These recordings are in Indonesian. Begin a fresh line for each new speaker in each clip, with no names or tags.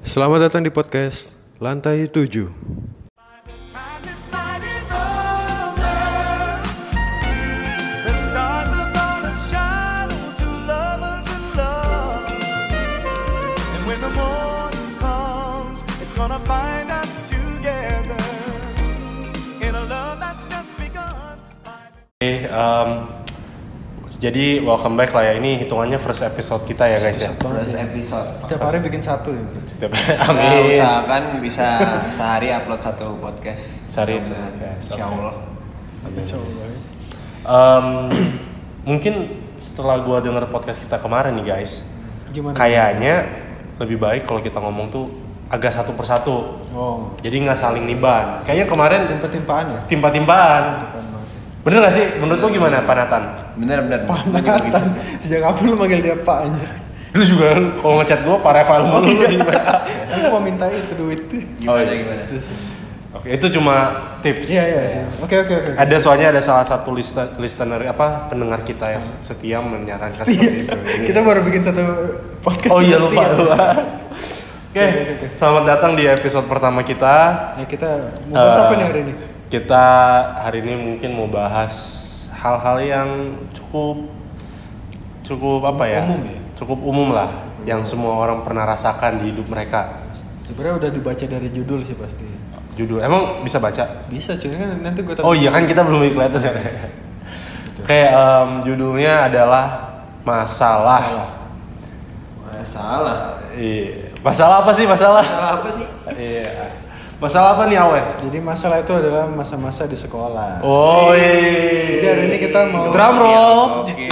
Selamat datang di podcast Lantai 7
Time this night is over. The stars are gonna shine on two lovers in love. And when the morning comes, it's gonna find us together in a love that's just begun.
Oke, em, jadi welcome back lah ya. Ini hitungannya first episode kita ya guys ya.
Terus episode.
Setiap hari bikin satu ya.
Setiap
Nah,
amin.
usahakan bisa sehari upload satu podcast.
Sehari
Mudah-mudahan.
satu podcast,
Insya
oke.
Allah.
Em, mungkin setelah gua denger podcast kita kemarin nih guys,
Gimana?
kayaknya lebih baik kalau kita ngomong tuh agak satu persatu.
Oh,
Jadi nggak saling niban. Kayaknya kemarin
timpa-timpaan ya.
timpa-timpaan. Bener gak sih? Menurut lu gimana, Panatan?
Bener bener. Gua juga
Nathan, sejak kapan lu manggil dia Pak aja?
Lu juga kalau ngechat gua pareval
Oh,
mulu lu
iya.
di WA.
Aku mau minta itu duit.
gitu. Gimana gimana.
Oke, itu cuma tips.
Iya iya sih. Oke oke oke.
Ada soalnya ada salah satu liste- listener apa pendengar kita yang setia menyarankan seperti itu.
Kita baru bikin satu podcast.
oh iya
pasti
lupa
ya.
lupa. Oke,
oke, oke.
selamat datang di episode pertama kita.
Ya kita mau bahas apa
Eh,
nih hari ini?
Kita hari ini mungkin mau bahas hal-hal yang cukup cukup apa ya?
Umum ya? Hmm.
Cukup umum lah yang semua orang pernah rasakan di hidup mereka.
Sebenarnya udah dibaca dari judul sih pasti.
Judul emang bisa baca?
Bisa cuy kan nanti gue
Oh iya kan kita belum kelihatan ya. Kayak em, judulnya adalah masalah.
Salah.
Masalah.
Iya. Masalah apa sih masalah?
Masalah apa sih?
Iya. Masalah apa nih Awen?
Jadi masalah itu adalah masa-masa di sekolah.
Oh iya.
Jadi hari ini kita mau
Drum roll.
Oke.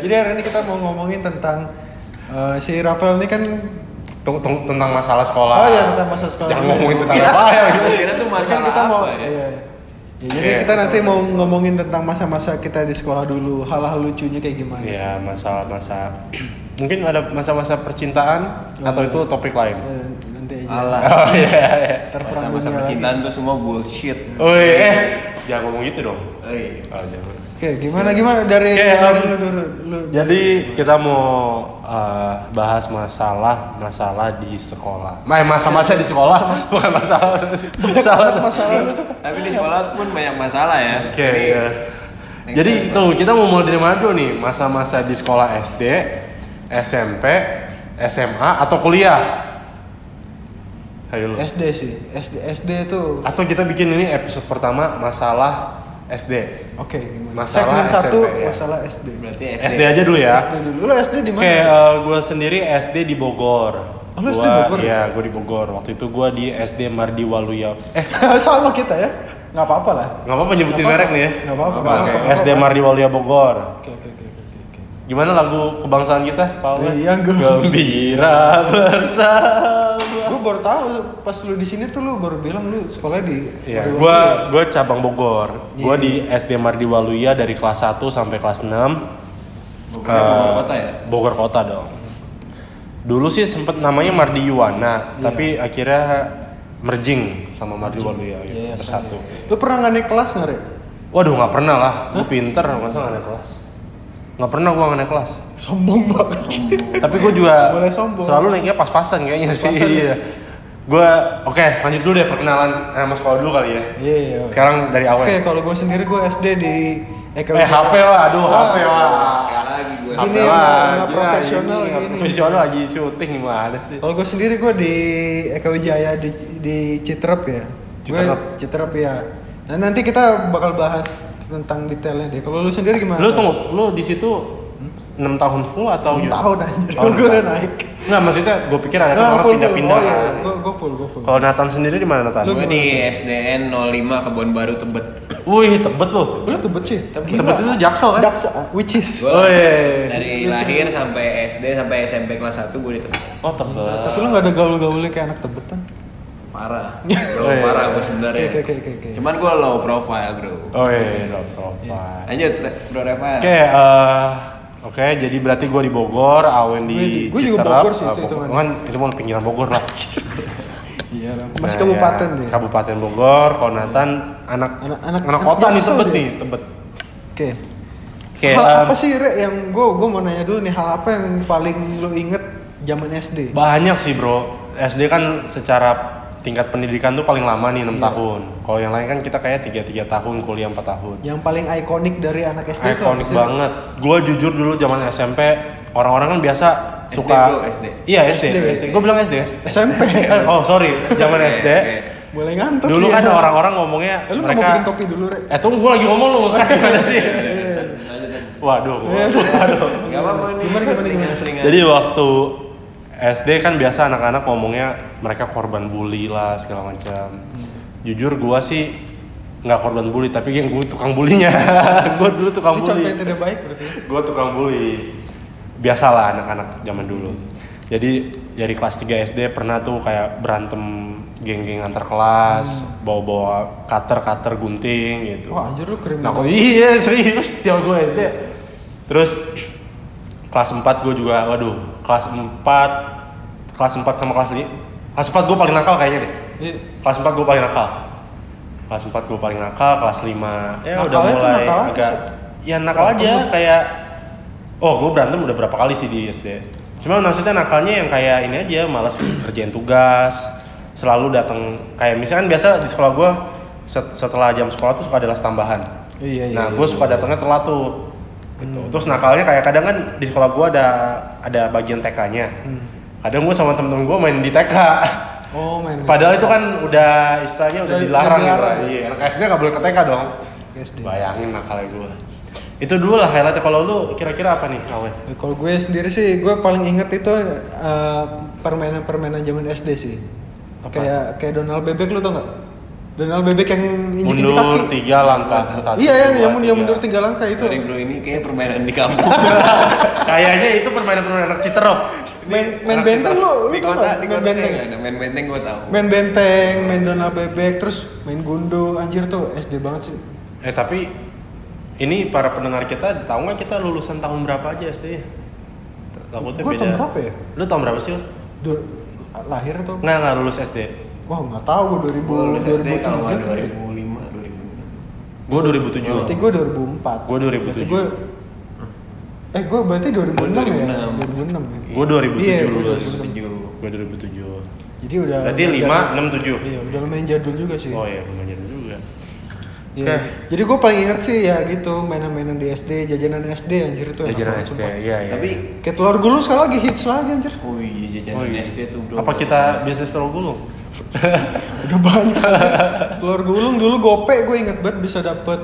Jadi hari ini kita mau ngomongin tentang eh, si Rafael ini kan
Tung- tung- Tentang masalah sekolah.
Oh iya, tentang masa sekolah.
Jangan ngomongin tentang
Kira-
apa ya.
Kira tuh
kan
masalah
kita mau
apa ya?
iya. Ya, jadi
Iya,
kita nanti mau ngomongin tentang masa-masa kita di sekolah dulu, hal-hal lucunya kayak gimana. sih.
Iya masalah-masalah. Mungkin ada masa-masa percintaan atau itu topik lain.
Eh, nanti aja.
Alah.
Oh iya. iya.
Terperang
Masa-masa
dunia lagi.
percintaan tuh semua bullshit.
Woi, eh jangan ngomong gitu dong.
Eh,
Oh, jangan.
Oke, gimana gimana dari
Oke,
dari
um,
lu dulu. Lu,
Jadi kita mau eh, bahas masalah masalah di sekolah. Nah, masa-masa di sekolah bukan masalah masalah.
masalah lu.
Tapi di sekolah pun banyak masalah ya.
Oke.
Ini
ya.
next
Jadi
time.
tuh kita mau mulai dari mana dulu nih? Masa-masa di sekolah SD, SMP, SMA atau kuliah? Ayo lu.
SD sih. SD SD itu
Atau kita bikin ini episode pertama masalah SD.
oke gimana?
Masalah
Segmen
SMP,
satu
ya.
masalah SD.
berarti
SD, aja dulu ya.
SD dulu. Lu SD di mana?
Oke, eh, gua sendiri SD di Bogor.
Oh, lu SD
Gua-
Bogor?
Iya, gue di Bogor. Waktu itu gua di SD Mardi Waluya. Eh,
Sama kita ya. Nggak apa-apa lah.
nggak apa-apa nyebutin
Nggak
merek
apa-apa.
nih ya?
Nggak apa-apa,
Oke,
nggak apa-apa, nggak
SD
apa-apa.
Mardi Waluya Bogor.
Oke oke oke oke oke.
Gimana lagu kebangsaan kita, Pak? Awan?
Riang gembira.
gembira bersama.
Gue baru tahu pas lu di sini tuh lu baru bilang lu sekolah di
Iya,
baru-
gua gua cabang Bogor.
Iya,
Gua di SD Mardi Waluya dari kelas 1 sampai kelas 6.
Bukan Bogor kota ya.
Bogor kota dong. Dulu sih sempet namanya Mardi Yuwana,
Iya.
tapi akhirnya merging sama Mardi Waluya gitu,
Iya,
bersatu.
Lu pernah nggak naik kelas nggak, Re?
Waduh nggak pernah lah, gue pinter masa nggak naik kelas. Nggak pernah gue nggak naik kelas.
Sombong banget.
tapi gue juga
Boleh sombong.
selalu naiknya pas-pasan kayaknya sih.
Pas-pasan ya?
Iya. Gue oke lanjut dulu deh perkenalan eh, sama sekolah dulu kali ya.
Iya, iya.
Sekarang dari awal.
Oke, kalau gue sendiri gue SD di E EKB.
Eh HP wah, aduh
Wah.
HP wah.
Kayak lagi gue.
Ini
HP,
yang
wah,
nggak
gila, ini
profesional
nggak
gini. Oh,
Profesional lagi syuting gimana sih?
Kalau gue sendiri gue di EKB Jaya di di Citerep ya. Gue
Citerep.
Citerep ya. Nah, nanti kita bakal bahas tentang detailnya deh. Kalau lu sendiri gimana?
Lu tunggu, lu di situ 6 tahun full atau
Enam
gimana?
tahun anjir.
Tahun
gue udah
depan.
naik. Nah,
Nggak, maksudnya gue pikir ada kan orang pindah-pindah
Oh, iya.
kan.
Gue gue full, gue full.
Kalau Nathan sendiri di mana Nathan?
Lu-
Gue di SDN 05 Kebon Baru Tebet.
Wih, tebet lu.
Lu tebet sih.
Tebet itu Jaksel kan?
Daksa, which is.
Oh,
Gua
iya.
dari lahir sampai SD sampai SMP kelas 1 gue di Tebet.
Oh, tebet.
Tapi lu nggak ada gaul-gaulnya kayak anak tebetan.
Parah. Bro, parah gue
ya?
sebenarnya.
Oh, iya. Oke, oke, oke, oke.
Cuman gue low profile, Bro.
Oh iya, no profile.
Lanjut, Re- Bro Rafael.
Oke, eh, oke, jadi berarti gue di Bogor, Awen di
Gue- gue juga
Citerap,
Bogor sih,
ah,
itu-
Bogor.
hitungannya.
Kan itu mau pinggiran Bogor lah.
Iya, lah. masih
Nah,
kabupaten
ya,
deh.
Kabupaten Bogor, kalau Nathan anak anak,
Anak- anak- anak
kota nih
Jaksel
tebet
dia.
nih, tebet.
Oke.
Oke, eh,
hal
em,
apa sih Re yang gue gue mau nanya dulu nih hal apa yang paling lu inget zaman SD.
Banyak sih bro. SD kan secara tingkat pendidikan tuh paling lama nih 6
Iya.
tahun. Kalau yang lain kan kita kayak 3-3 tahun, kuliah 4 tahun.
Yang paling ikonik dari anak SD itu apa
Ikonik
sih?
banget. Gua jujur dulu zaman SMP orang-orang kan biasa
SD,
suka
bro, SD.
Iya, SD,
SD.
SD. Gua bilang SD.
SMP.
Eh, oh, sorry. Zaman SD.
Mulai ngantuk.
Dulu
ya.
kan orang-orang ngomongnya
Eh, Lu nggak mau
mereka
bikin kopi dulu, Rek? Iya.
Eh, tunggu gua lagi ngomong lu. Kan gimana sih? Waduh.
Iya.
Waduh.
Gak apa-apa nih.
Gimana, gimana, gimana?
Iya.
Selingan.
Jadi waktu SD kan biasa anak-anak ngomongnya mereka korban bully lah segala macam.
Hmm.
Jujur gua sih nggak korban bully tapi yang gue tukang bulinya. gua dulu tukang
Ini contoh yang
bully.
tidak baik berarti.
Gua tukang bully. Biasalah anak-anak zaman dulu. Jadi dari kelas 3 SD pernah tuh kayak berantem geng-geng antar kelas, bawa-bawa cutter-cutter gunting gitu.
Hmm. Wah, anjir lu
Nah,
kriminal.
kok- iya serius zaman gue SD. Terus kelas 4 gue juga waduh, kelas 4 kelas 4 sama kelas 5. Kelas 4 gue paling nakal kayaknya deh.
Iya.
Kelas 4 gue paling nakal. Kelas 4 gue paling nakal, kelas 5 ya udah
Nakalnya tuh
mulai
nakal apa
agak
sih?
ya nakal aja kayak oh gue berantem udah berapa kali sih di SD. Cuma maksudnya nakalnya yang kayak ini aja malas kerjain tugas, selalu datang kayak misalkan biasa di sekolah gue set- setelah jam sekolah tuh suka ada les tambahan
Iya, iya.
nah
iya. Hmm.
gue suka datangnya telat tuh gitu. terus nakalnya kayak kadang kan di sekolah gue ada ada bagian TK-nya
Hmm.
kadang gue sama temen-temen gue main di TK
Oh, men.
padahal itu kan udah istilahnya udah
Udah-
dilarang
udah
gitu
dilarang.
iya anak SD nggak boleh ke TK dong
SD.
bayangin nakalnya gue itu dulu lah highlightnya kalau lu kira-kira apa nih kawin
Ya, Kalau gue sendiri sih, gue paling inget itu eh, permainan-permainan zaman SD sih.
Apa?
Kayak kayak Donald Bebek lu tau nggak? Donald Bebek yang injek-injek kaki.
mundur tiga langkah satu
iya, yang
dua,
yang, mundur- yang
tiga.
mundur tiga langkah itu.
Sorry bro, ini kayak permainan di kampung.
kayaknya itu permainan-permainan anak citerok
Main main benteng lu, lu
di
tau
kota,
nggak?
di
Main
kota kayak
benteng.
nggak ada. Main benteng gue tahu.
Main benteng, main Donald Bebek, terus main gundu, anjir tuh SD banget sih.
eh tapi ini para pendengar kita tahu nggak kita lulusan tahun berapa aja SD -nya? Takutnya
Gua tahun berapa ya?
Lu tahun berapa sih? lu?
Do- lahir atau?
Nggak, nggak lulus SD.
Wah nggak tahu gue
Gue lulus SD kalau nggak
2000 2003.
2005, 2006.
Gua
Berarti
2007.
gue 2004.
Gua 2007.
Berarti gue Eh gue berarti 2006 ya? 2006 ya?
Gua 2007
Iya, gua
lulus.
2006.
Gua 2007.
Jadi udah
Berarti
udah
5,
jalan-
6, 7.
Iya udah lumayan jadul juga sih
Oh iya, lumayan juga.
Iya.
Oke.
Jadi gue paling inget sih ya gitu Mainan-mainan di SD, jajanan SD anjir itu enak
Jajanan
banget,
SD,
sumpah.
iya iya.
Tapi,
Kayak telur gulung sekali lagi hits lagi anjir
oh iya jajanan
Oh, iya.
SD tuh bro.
apa kita bisa setelah gulung?
Udah banyak anjir. Telur gulung dulu gope gue inget banget bisa dapet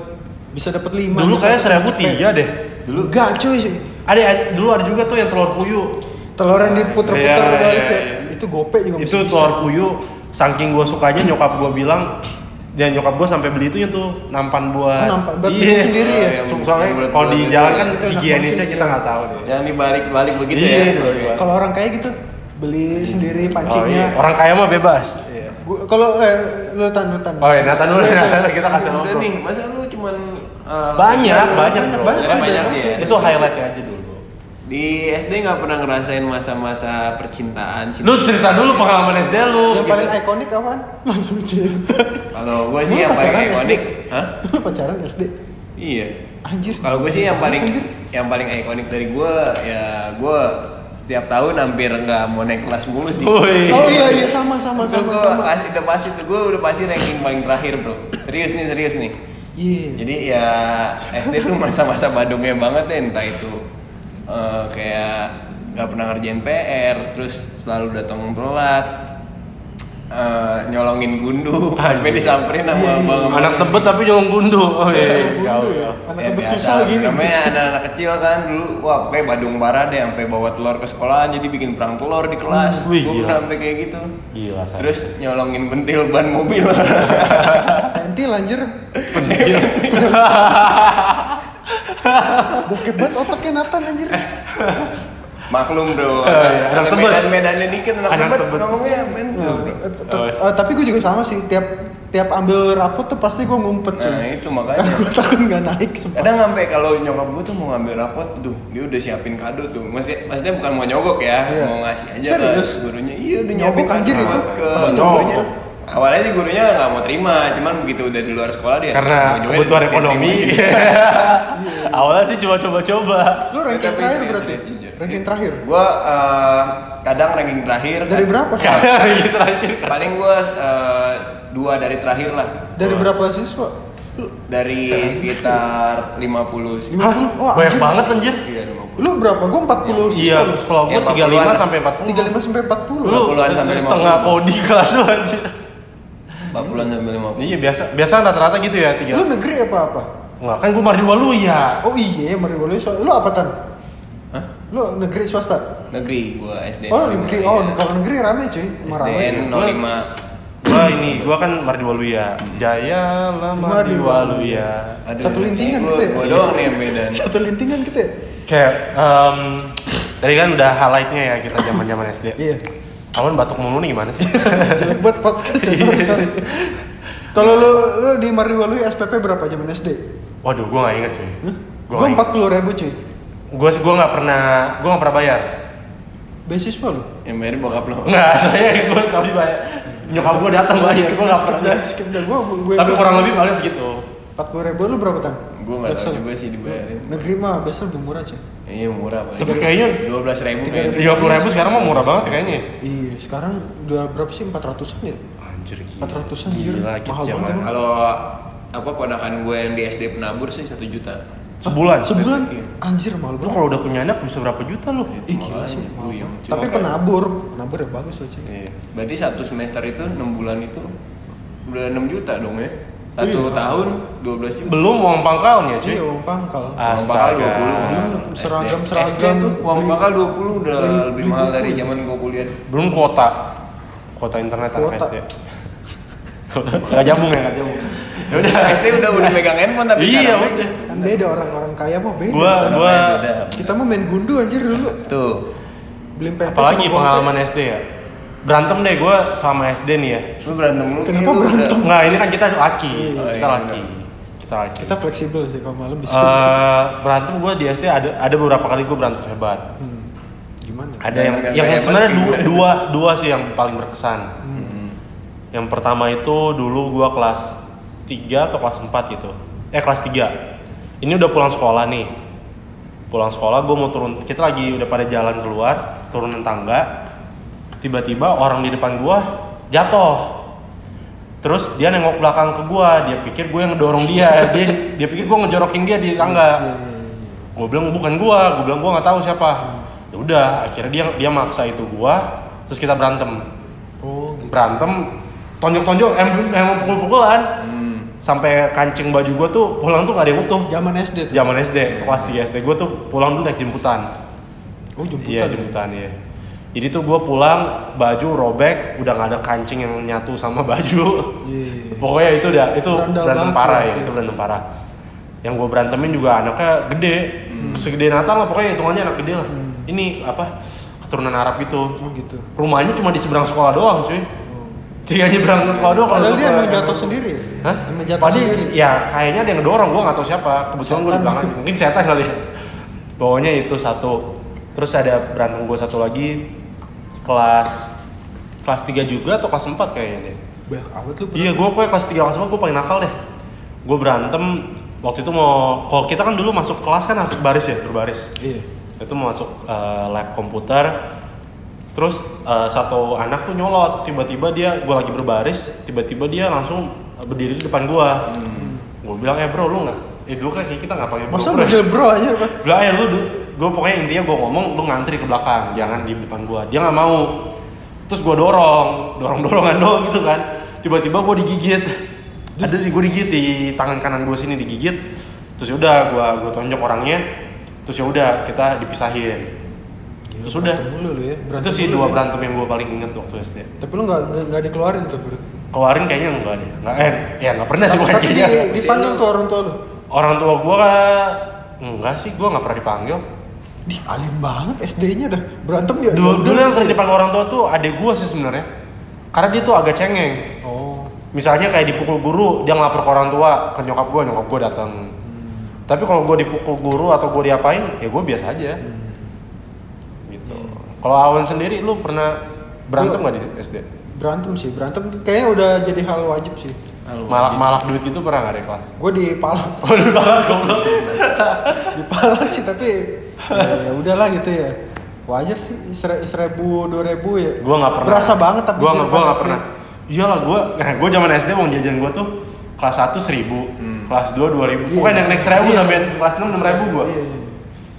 Bisa dapet 5
Dulu kayak seribu tiga deh.
ya? Dulu Enggak cuy
Ada, ada- dulu ada juga tuh yang telur puyuh.
Telur yang diputer-puter
Iya,
balik
iya,
ya
iya.
Itu gope juga
Itu
bisa-bisa.
telur puyuh. Saking gua sukanya nyokap gua bilang dan nyokap gua sampai beli itu yang tuh nampan buat
Oh, nampan buat
Iya.
bikin sendiri
ya?
So- soalnya
Yang
kalau di jalan
bulat-bulat itu
kan
ya. Itu enak
higienisnya
banget sih,
kita
iya.
nggak tahu deh
Yang dibalik-balik begitu
Iya,
ya.
dibalik-balik.
Kalau orang kaya gitu beli sendiri
Oh, iya.
pancingnya.
Orang kaya mah bebas.
Gua- Kalau eh, lu tan lu tan.
Oh iya, Nathan dulu Nathan, kita kasih
Udah
ngobrol.
nih, masa lu cuman eh,
Banyak, banyak,
banyak,
bro. Iya,
banyak
sih,
banyak
banyak
sih.
sih.
Itu highlightnya aja dulu.
Di SD nggak pernah ngerasain masa-masa percintaan. cinta.
Lu cerita dulu pengalaman SD lu.
Yang
gitu.
paling ikonik apaan? Langsung cil.
Kalau gue sih
Lu
yang
pacaran SD?
paling ikonik, hah?
Lu pacaran SD?
Iya.
Anjir.
Kalau gue sih yang paling
Anjir.
yang paling ikonik dari gue ya gue setiap tahun hampir nggak mau naik kelas mulu sih.
Woi.
Oh iya iya sama sama
Itu
sama.
gue
sama.
pasti udah pasti tuh gue udah pasti ranking paling terakhir bro. Serius nih serius nih.
Iya.
Jadi ya SD tuh masa-masa badungnya banget deh entah itu eh, kayak nggak pernah ngerjain PR, terus selalu datang telat, eh, nyolongin gundu, sampai disamperin sama abang
Iya, Anak tebet tapi nyolong gundu. Oh iya.
Bundu ya. Anak
Ya,
tebet
biasa,
susah gini.
Namanya anak-anak kecil kan dulu, wah kayak Badung Barat deh, sampai bawa telur ke sekolahan, jadi bikin perang telur di kelas.
Hmm, wih,
Gue
gila.
pernah sampai kayak gitu.
Gila saya.
Terus nyolongin pentil ban mobil.
Nanti lanjir.
Pentil.
Bokep banget otaknya Nathan anjir.
Maklum bro,
iya, anak tebet.
medan-medannya dikit,
Anak
anak, tebet,
tebet.
ngomongnya pentil bro.
Oh,
Eh, t-
iya.
t- eh, tapi gue juga sama sih tiap tiap ambil rapot tuh pasti gue ngumpet sih.
iya.
Nah itu makanya.
Gue takut nggak naik sumpah.
Kadang sampai kalau nyokap gue tuh mau ngambil rapot, tuh dia udah siapin kado tuh. Maksudnya, maksudnya bukan mau nyogok ya,
Iya.
mau ngasih aja
Serius?
ke gurunya. Iya udah
Nyogok
nyiapin
anjir
kado
itu?
ke
Pasti nyogok.
gurunya. Awalnya sih gurunya nggak mau terima, cuman begitu udah di luar sekolah dia
Karena
join,
kebutuhan
dia
ekonomi.
terima.
Awalnya sih coba-coba coba.
Lu ranking
Tapi
terakhir
serius,
berarti.
serius, jujur.
Iya.
Ranking terakhir.
Gua eh, kadang ranking terakhir kan.
Dari berapa?
Gitu terakhir.
paling gua eh, dua dari terakhir lah
Dari berapa siswa? Lu,
dari sekitar 50 sih
50? Oh,
Banyak
anjir.
banget anjir.
iya 50
Lu berapa? Gue 40 siswa.
Iya, sekolah gua
Ya, 40-an
35
lah.
sampai 40.
35 sampai 40.
Lu
40-an sampai
setengah
50.
kodi kelas lu anjir.
40 sampai 50
Iya biasa, biasa rata-rata gitu ya tiga.
Lu negeri apa apa?
Enggak, kan gua mardiwa lu ya.
Oh iya, mari boleh soal. Lu apa tan?
Hah?
Lu negeri swasta?
negeri gua SD
Oh
05,
negeri.
iya.
Oh kalau negeri rame cuy. Emang Rame.
SDN
Gua-
05
Gua ini, gua kan mardiwa lu ya. Jaya lah mardiwa lu ya.
Aduh,
Satu lintingan
gua,
gitu ya?
gua doang nih yang beda nih.
Satu lintingan kita. ya?
Kayak em tadi kan udah highlightnya ya kita zaman-zaman SD.
Iya.
Awan batuk mulu nih gimana sih?
Jelek buat podcast ya. Sorry sorry.
Iya.
Kalau lu, lu di Mariwalu SPP berapa zaman SD?
Waduh, gua nggak inget cuy. Gua
Gue
nggak inget.
empat puluh ribu cuy.
Gua sih gua nggak pernah, gua nggak pernah bayar.
Beasiswa lu?
yang beda bokap lo
Nggak, saya gua tapi bayar. Nyokap gua datang bayar, gua nggak pernah.
Skip dah, skip dah. Gue gue.
Tapi kurang lebih paling segitu.
Empat puluh ribu lu berapa tan?
gua nggak tahu
Jaksel.
juga sih dibayarin
Negeri mah biasa lebih murah cuy.
iya murah paling
Tapi kayaknya
12 Iya, ribu
tiga puluh ribu sekarang mah murah banget ya kayaknya.
Iya, sekarang udah berapa sih? 400-an ya?
Anjir gila.
400-an anjir.
Gila, gitu kita
Mahal
zaman.
banget emang.
kalau apa ponakan gue yang di SD penabur sih 1 juta
Sebulan.
Sebulan? Anjir, mahal
Lu
banget.
kalau udah punya anak bisa berapa juta lu?
Ih, gila sih.
Makanya,
mahal
lu yang
banget.
cuma
Tapi
kayak-
penabur. Penabur ya bagus loh, Cik.
Iya.
Berarti satu semester itu 6 bulan itu udah 6 juta dong ya. Satu tahun 12 juta.
Belum uang pangkalnya cuy. Ah.
Iya, uang pangkal.
Uang bakal 20.
Belum
SD.
seragam-seragam.
SD tuh uang
Beli-
bakal 20 udah
beli-
lebih
beli
mahal
buku.
dari zaman gua kuliah.
Belum kuota. Kuota internet anak
Kuota.
SD. Gak jambung ya, gak jambung. Ya udah.
SD udah udah megang handphone tapi
Iya,
sekarang
udah.
Kan beda orang-orang kaya mah beda.
Gua
Tan.
gua
Namanya beda.
Kita mah main gundu anjir dulu.
Tuh.
Beli pempek
apalagi
sama
pengalaman SD ya. Berantem deh gua sama SD nih ya.
Lu berantem lu. Iya,
Kenapa
lu
berantem?
Enggak, ini kan kita laki.
iya,
Kita
iya.
laki. Kita laki.
kompor. Kita fleksibel sih kalau malam bisa.
Eh, berantem gua di SD ada ada beberapa kali gua berantem hebat.
Hmm. Gimana?
ada
Yang
yang
agak
yang
kayak
sebenarnya
penting.
dua, dua dua sih yang paling berkesan yang pertama itu dulu gua kelas 3 atau kelas 4 gitu eh kelas 3 ini udah pulang sekolah nih pulang sekolah gua mau turun kita lagi udah pada jalan keluar turunan tangga tiba-tiba orang di depan gua jatuh terus dia nengok belakang ke gua dia pikir gue yang ngedorong dia dia dia pikir gua ngejorokin dia di tangga gue bilang bukan gua gue bilang gua nggak tahu siapa ya udah akhirnya dia dia maksa itu gua terus kita berantem
Oh, gitu.
berantem tonjok-tonjok em emang pukul-pukulan
Hmm.
sampai kancing baju gua tuh pulang tuh nggak ada yang utuh
Zaman SD tuh.
zaman SD kelas 3 SD gua tuh pulang dulu naik jemputan
Oh, jemputan.
iya jemputan ya jadi tuh gua pulang baju robek udah nggak ada kancing yang nyatu sama baju
Iya.
pokoknya itu udah itu
Berandal
berantem
banget
parah
sih,
ya
asli.
itu berantem parah yang gue berantemin juga anaknya gede
Hmm.
segede Natal lah pokoknya hitungannya anak gede lah ini apa keturunan Arab gitu
Oh, gitu. Oh.
rumahnya cuma di seberang sekolah doang cuy cuy aja berangkat sekolah doang kalau
Padahal dia
gua-
emang jatuh sendiri ya?
Hah?
Emang jatuh
Padahal
sendiri?
ya kayaknya ada yang ngedorong, gua nggak tahu siapa. Kebetulan gua di
Setan.
belakang, mungkin setan kali. ya. Pokoknya itu satu. Terus ada berantem gua satu lagi kelas kelas 3 juga atau kelas 4 kayaknya deh.
Banyak awet lu.
Iya, gue kayak kelas 3 kelas 4 gue paling nakal deh. Gue berantem waktu itu mau kalau kita kan dulu masuk kelas kan harus baris ya, berbaris.
Iya.
Itu mau masuk eh, lab komputer. Terus eh, satu anak tuh nyolot, tiba-tiba dia gue lagi berbaris, tiba-tiba dia langsung eh, berdiri di depan gua. Gue bilang, "Eh, Bro, lu nggak Eh, dulu kan kayak kita nggak panggil bro.
Masa
bro."
manggil bro aja, Pak?
Bilang, "Eh, lu gue pokoknya intinya gue ngomong lu ngantri ke belakang, jangan di depan gua." Dia nggak mau. Terus gua dorong, dorong-dorongan doang gitu kan. Tiba-tiba gua digigit. Ada di gue digigit di tangan kanan gue sini digigit. Terus ya udah gua gua tonjok orangnya. Terus ya udah kita dipisahin. Terus udah.
Berantem mulu lu ya.
Itu
berantem
sih
mulu
dua
ya.
berantem yang gue paling inget waktu SD.
Tapi lu nggak nggak- nggak dikeluarin tuh, Bro.
Keluarin kayaknya enggak deh. Enggak eh ya enggak pernah sih
Tapi,
bukan
tapi
kayaknya.
di, dipanggil tuh orang tua lu.
Orang tua gua enggak sih, gua enggak pernah dipanggil.
Di alim banget SD-nya dah. Berantem ya.
Dulu,
Udah,
dulu yang
gitu
sering
ya.
dipanggil orang tua tuh adik gua sih sebenarnya. Karena dia tuh agak cengeng.
Oh.
Misalnya kayak dipukul guru, dia ngelapor ke orang tua, ke nyokap gua, nyokap gua datang. Tapi kalau gua dipukul guru atau gua diapain, ya gua biasa aja. Gitu. Kalau Awan sendiri lu pernah berantem nggak di SD?
Berantem sih, berantem kayaknya udah jadi hal wajib sih.
Malak malak duit gitu pernah nggak di kelas?
Gue dipalak,
Waduh, banget goblok.
dipalak sih tapi ya, ya udahlah gitu ya. wajar sih sere, seribu dua ribu ya
Gua nggak pernah.
berasa banget tapi
gua
jadi
nggak gua
pas
nggak
SD.
pernah. Iyalah gua, nah gua zaman SD uang jajan gua tuh kelas 1 seribu, kelas 2 dua ribu,
Iya,
pokoknya yang naik seribu
iya.
sampai kelas 6 enam ribu gua.
Iya, iya.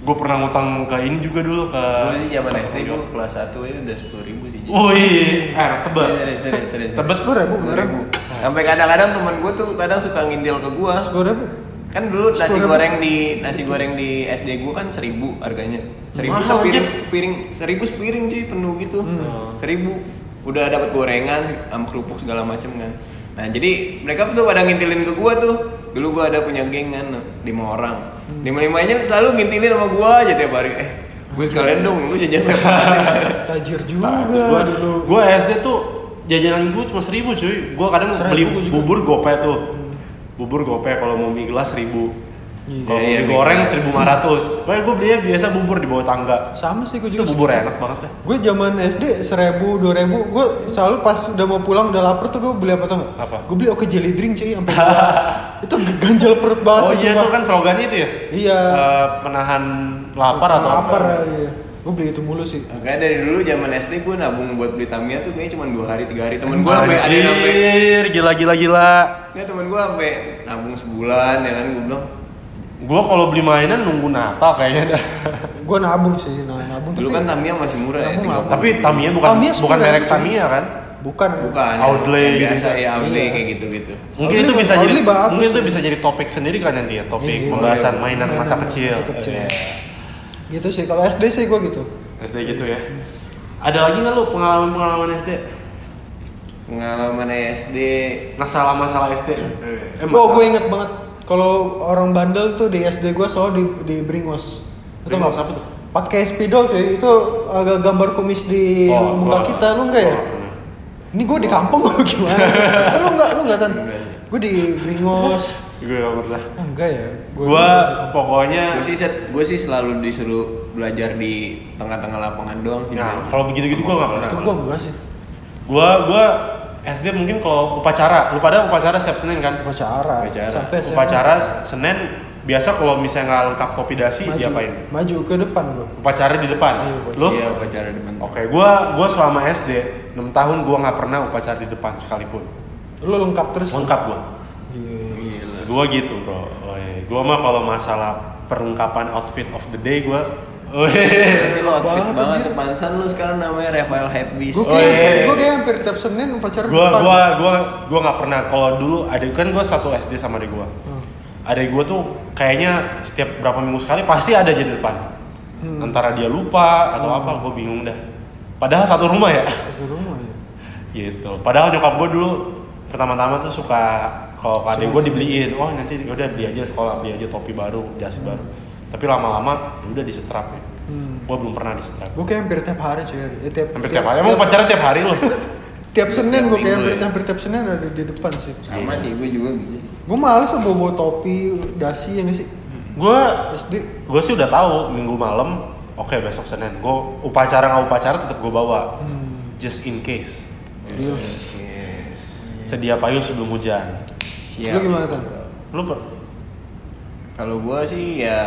Gua pernah ngutang ke ini juga dulu ke.
Gue sih zaman SD gue kelas 1 aja udah 10 ribu sih. Ji.
Oh, iya, Wih, air tebal.
Serius, serius, serius.
Eh, Tebet.
sepuluh ribu beneran
10.000. Sampai kadang-kadang temen gue tuh kadang suka ngindil ke gue.
sepuluh ribu
Kan dulu nasi
10.000.
goreng di nasi goreng di SD gue kan 1000 harganya. 1000
Mahal,
sepiring,
Jep.
sepiring, 1000 sepiring cuy penuh gitu.
Hmm.
1000 udah dapat gorengan sama kerupuk segala macem kan. Nah, jadi mereka tuh pada ngintilin ke gua tuh. Dulu gua ada punya geng kan lima orang.
Hmm.
Lima-limanya selalu ngintilin sama gua aja tiap hari. Eh, gue sekalian dong, lu jajan berapa?
tajir juga
Nah, gua
dulu
Gua SD tuh jajanan gua cuma seribu cuy. Gua kadang beli
Seribu gua juga. Hmm.
bubur gope tuh. Bubur gope kalau mau mie gelas seribu. Kalau mau mie
Iya, iya,
goreng
mie gelas.
seribu lima ratus. Pokoknya gua belinya biasa bubur di bawah tangga.
sama sih gue
Itu
juga
bubur enak banget ya.
gue zaman SD seribu dua ribu gue selalu pas udah mau pulang udah lapar tuh gue beli apa tau
Apa?
gue beli oke jelly drink cuy sampai gua itu ganjal perut banget
Oh
sih
iya
sumpah.
itu kan slogannya itu ya.
Iya.
Eh, penahan lapar atau apa?
lapar iya gue beli itu mulu sih
Makanya dari dulu zaman SD gue nabung buat beli Tamiya tuh kayaknya cuma dua hari tiga hari temen gue sampai ada
Anjir,
yang sampai
gila gila gila.
ya temen gue sampai nabung sebulan ya kan gue bilang
Gua kalau beli mainan nunggu Natal kayaknya dah.
gue nabung sih nah, nabung
dulu kan Tamiya masih murah ya
Nabung
tiga
nabung.
Tapi Tamiya bukan
Tamiya ya,
bukan
sebenarnya
merek
lucu.
Tamiya kan?
bukan
bukan ya,
Outlay
yang biasa
gitu.
ya outlay
Iya.
kayak gitu gitu
Mungkin
Outlet-
itu bisa
outlet
jadi
bagus
mungkin itu
sih.
bisa jadi topik sendiri kan nanti ya, topik
Iya,
pembahasan
boleh.
mainan
Mainan
masa
masa
kecil.
kecil.
Iya.
gitu sih kalau SD sih gue gitu
SD gitu ya. Ada lagi nggak lu pengalaman-pengalaman SD?
Eh,
pengalaman Iya. SD
Masalah-masalah SD? Eh,
oh gue inget banget kalau orang bandel tuh di SD gue selalu di, di Bringos Atau
Bringos
nggak?
apa tuh?
pakai spidol cuy itu agak gambar kumis di
Oh,
muka
gua-
kita lu enggak ya
gua pernah.
ini gue di kampung apa gimana Eh, lu enggak lu enggak tan gue di Bringos
Gue gak pernah.
Ah, enggak ya
Gue pokoknya
gue sih set- gua sih selalu disuruh belajar di tengah-tengah lapangan doang sih
Ya,
Nah,
Bang.
kalau begitu-gitu gue gak pernah.
itu gue enggak sih
Gue gue SD mungkin kalau upacara, lu pada upacara setiap Senin kan?
upacara
Upacara.
sampai SMA.
Upacara Senin biasa kalau misalnya nggak lengkap topi dasi
maju
diapain?
maju ke depan gue
Upacara di depan.
Iya, upacara.
Lu?
iya upacara depan
Oke, gua gua selama SD 6 tahun gua nggak pernah upacara di depan sekalipun.
lu lengkap terus
Lengkap gua.
Gila.
Gua gitu, Bro. Woy, Gua mah kalau masalah perlengkapan outfit of the day gua Woy.
Berarti lo outfit
Banget,
banget
anjir.
tuh pansan lu sekarang namanya Rafael Happy
Gue
Oh,
kayak,
iya, iya.
gua kayak hampir tiap Senin upacara
gua
depan.
gua gua gua nggak pernah kalau dulu adik kan gua satu SD sama adik gua. Adik gua tuh kayaknya setiap berapa minggu sekali pasti ada aja di depan. Antara dia lupa atau apa, gua bingung dah. Padahal satu rumah ya.
Di rumah ya.
gitu padahal nyokap gue dulu pertama-tama tuh suka kalau ke adik gue dibeliin oh nanti udah beli aja sekolah beli aja topi baru jas baru tapi lama-lama udah disetrap ya
Hmm.
gue belum pernah disetrap
Gue kayak hampir tiap hari cuy. Ya, tiap,
hampir tiap hari emang Iya. pacaran tiap hari loh
Tiap Senin gue kayak
Minggu
hampir,
ya.
hampir tiap Senin ada di depan sih.
sama sih gue juga gitu
Gue males bawa bawa topi, dasi yang sih
gue
SD.
gue sih udah tahu minggu malam oke besok senin gue upacara nggak upacara tetap gue bawa
Hmm.
just in case
Yes.
sedia payung sebelum hujan
Iya.
Lu gimana kan?
lu per-
Kalau gua sih ya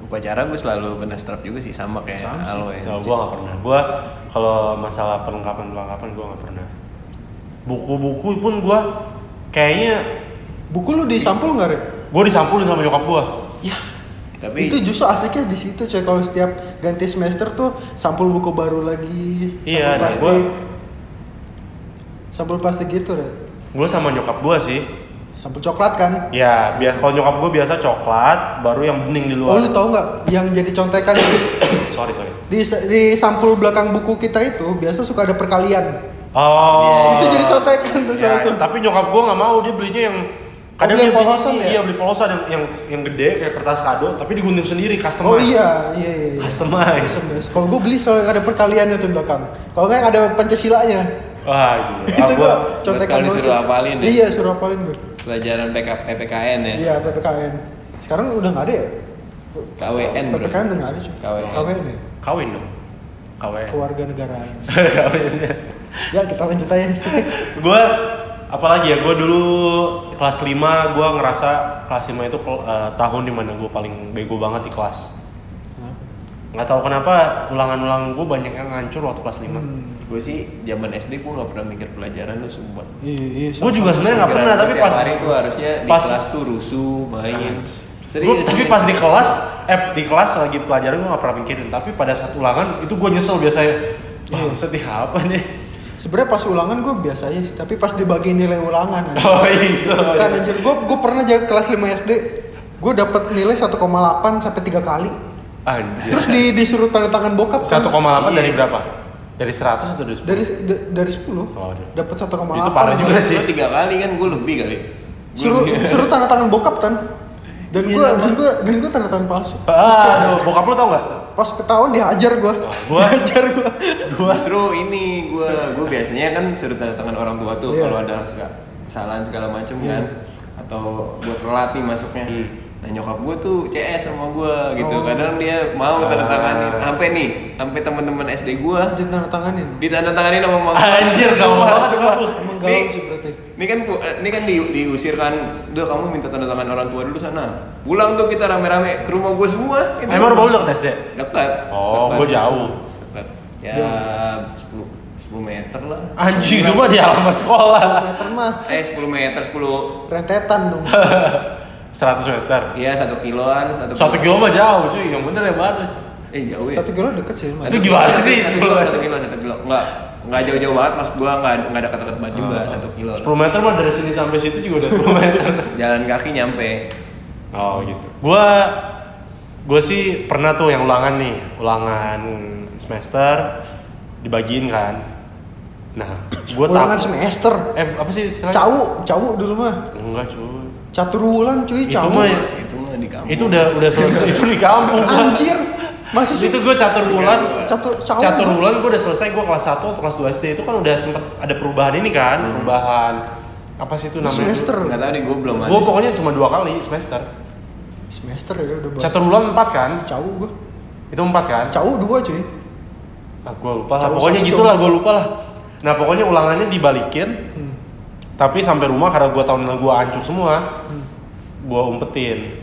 upacara gue selalu kena strap juga sih sama kayak Alo ya.
Nah, gue nggak pernah. Gue kalau masalah perlengkapan perlengkapan gue nggak pernah. Buku-buku pun gue kayaknya
Buku lu disampul nggak Rek?
gue disampulin sama nyokap gue.
Tapi
Itu justru asiknya di situ cuy. Kalau setiap ganti semester tuh sampul buku baru lagi. Sampul
Iya, nah
plastik.
gue
Sampul plastik gitu Rek.
gue sama nyokap gue sih.
Sampul coklat kan?
Ya biasa kalau nyokap gue biasa coklat, baru yang bening di
Oh
luar.
lu tau nggak yang jadi contekan
sorry sorry.
di, di sampul belakang buku kita itu biasa suka ada perkalian.
Oh.
Itu jadi contekan tuh
Ya,
soal itu.
Tapi nyokap gue nggak mau dia belinya yang kadang dia
beli yang
beli-
polosan ya?
Iya beli polosan yang, yang yang gede kayak kertas kado, tapi digunting sendiri customized.
Oh iya, iya iya. iya.
Customized.
SMS. Kalau gue beli selalu ada perkaliannya tuh di belakang. Kalau nggak ada Pancasilanya.
Wah, gila.
itu
Ah,
gue
gua-
contekan
kalau disuruh
sih.
hafalin ya?
Iya suruh hafalin gue.
Eh.
pelajaran PK, PPKN ya.
Iya PPKN. Sekarang udah nggak ada ya?
KWN bro.
PPKN udah nggak ada cuy.
KWN.
KWN
Eh.
ya.
Kawin dong. Kawin.
Keluarga negara.
Kawinnya.
Ya kita lanjut aja.
gue apalagi ya gue dulu kelas 5 gue ngerasa kelas 5 itu kel- eh, tahun dimana gue paling bego banget di kelas nggak tahu kenapa ulangan-ulangan gue banyak yang hancur waktu kelas 5
Hmm.
Gue sih zaman SD gue gak pernah mikir pelajaran lu sumpah.
Iya, iya.
gue juga sebenarnya nggak
Pikiran
pernah
gua
tapi
tiap
pas
hari tuh harusnya di
pas- Ah.
kelas tuh rusuh main.
Gua- tapi pas di kelas eh di kelas lagi pelajaran gue nggak pernah mikirin tapi pada saat ulangan itu gue nyesel biasanya Wah, sedih apa nih
Sebenarnya pas ulangan gue biasa aja sih, tapi pas dibagi nilai ulangan anjir.
oh itu
Kan anjir, gue gue pernah jaga kelas 5 SD, gue dapat nilai 1,8 sampai 3 kali.
anjir
Terus di, disuruh tanda tangan bokap kan.
1,8 dari berapa dari 100 atau dari 10
dari d- dari 10
Waduh.
dapat 1,8.
Itu parah juga
sih.
sih.
tiga kali kan gue lebih kali.
Suruh
Iya.
suruh tanda tangan bokap kan. Dan gue dan gue dan gue tanda tangan palsu.
ah aduh, bokap lu tau nggak
Pas ketahuan dihajar gue.
gua-
Dihajar gue.
Justru ini gue gue biasanya kan suruh tanda tangan orang tua tuh
Iya.
kalau ada suka- kesalahan segala macem
Iya.
kan atau gue telat nih masuknya.
Hmm.
Nah nyokap gue tuh CS sama gue gitu.
Oh.
Kadang dia mau tanda
Ah.
tanganin sampai nih sampai teman-teman SD gue
Anjir tanda tanganin.
ditandatanganin sama mama
Anjir, gaul banget
Sumpah.
lu.
Emang
Ini,
galau sih berarti.
ini kan pu- ini kan di, diusir kan. Duh, kamu minta tanda tangan orang tua dulu sana. Pulang tuh kita rame-rame ke rumah gue semua. Itu
emang rumah lu deket SD
Dekat.
oh
Dekat.
gue jauh
Dekat. Ya 10 10 meter lah.
anjing cuma di halaman sekolah
Meter mah
Eh 10 meter 10
rentetan dong.
100 meter
Iya satu kiloan satu.
satu kilo mah jauh cuy yang bener yang mana
Eh jauh ya.
Satu kilo deket sih. Mas.
Ini gimana sih?
Satu kilo satu kilo satu kilo. Enggak enggak jauh-jauh banget mas gua enggak enggak dekat-dekat banget juga
Oh.
satu kilo.
10 meter mah dari sini sampai situ juga udah 10 meter
Jalan kaki nyampe.
Oh gitu. Gua gua sih pernah tuh yang ulangan nih, ulangan semester dibagiin kan. Nah, gua
Ulangan
takut.
semester.
Eh apa sih? istilahnya?
Cau, cau dulu mah.
Enggak cuy.
Catur wulan cuy,
Itu
cau.
mah ya.
Itu mah di kampung.
itu udah udah selesai itu di kampung. gua.
Anjir. Masa sih?
itu gua catur bulan.
Catur cau.
Catur bulan gua udah selesai gua kelas 1 atau kelas 2 SD itu kan udah sempet ada perubahan ini kan, perubahan apa sih itu namanya?
Hmm. Semester.
Enggak tahu di gua belum ada.
Gua pokoknya cuma dua kali semester.
Semester ya udah bahas.
Catur bulan 4 kan?
Cau gua.
Itu 4 kan?
Cau dua cuy.
Ah, gua lupa lah.
Cabut
Pokoknya
satu,
gitulah,
cabut.
gua lupa lah. Nah, pokoknya ulangannya dibalikin.
Hmm.
Tapi sampai rumah karena gua tahun lalu gua hancur semua.
Hmm.
Gua umpetin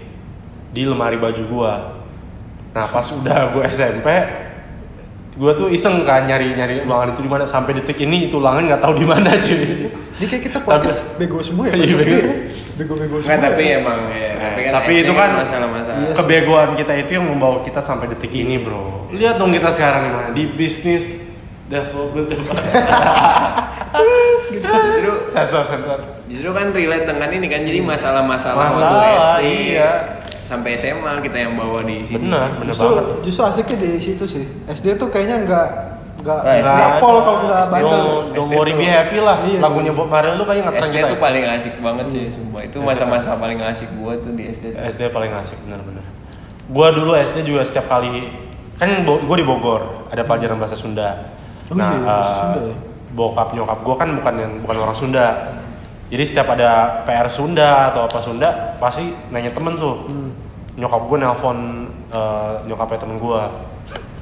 di lemari baju gua. Nah, pas udah gua SMP, gua tuh iseng kan nyari-nyari ulangan itu di mana sampai detik ini itu ulangan nggak tahu di mana cuy.
Ini kayak kita podcast bego semua ya.
Iya,
podcast
bego.
ya. Bego-bego semua.
Enggak tapi emang ya,
Eh,
tapi kan
tapi
SD
itu kan-
masalah-masalah.
Iya. sih.
Kebegoan kita itu yang membawa kita sampai detik ini, Bro. Lihat dong kita sekarang gimana di bisnis dah problem dah.
Justru
sensor sensor.
justru kan relate dengan ini kan jadi masalah-masalah waktu
Masalah,
SD
iya.
sampai SMA kita yang bawa di sini.
Benar, benar
Justru,
banget.
justru asiknya di situ sih. SD tuh kayaknya enggak enggak
Nah, SD.
enggak pol kalau enggak
SD
bandel.
Don't, don't
SD
worry
tuh-
be happy lah.
Iya.
Lagunya Bob Marley lu kayaknya ngetren
SD
kita.
tuh
SD.
paling asik banget sih sumpah. Itu masa-masa paling asik gua tuh di SD. tuh.
SD paling asik benar-benar. Gua dulu SD juga setiap kali kan bo- gua di Bogor, ada pelajaran bahasa Sunda.
Oh iya, bahasa
eh,
Sunda ya?
Bokap nyokap gua kan bukan yang bukan orang Sunda. Jadi setiap ada PR Sunda atau apa Sunda pasti nanya temen tuh.
Hmm.
Nyokap gua nelpon eh, nyokapnya temen gua.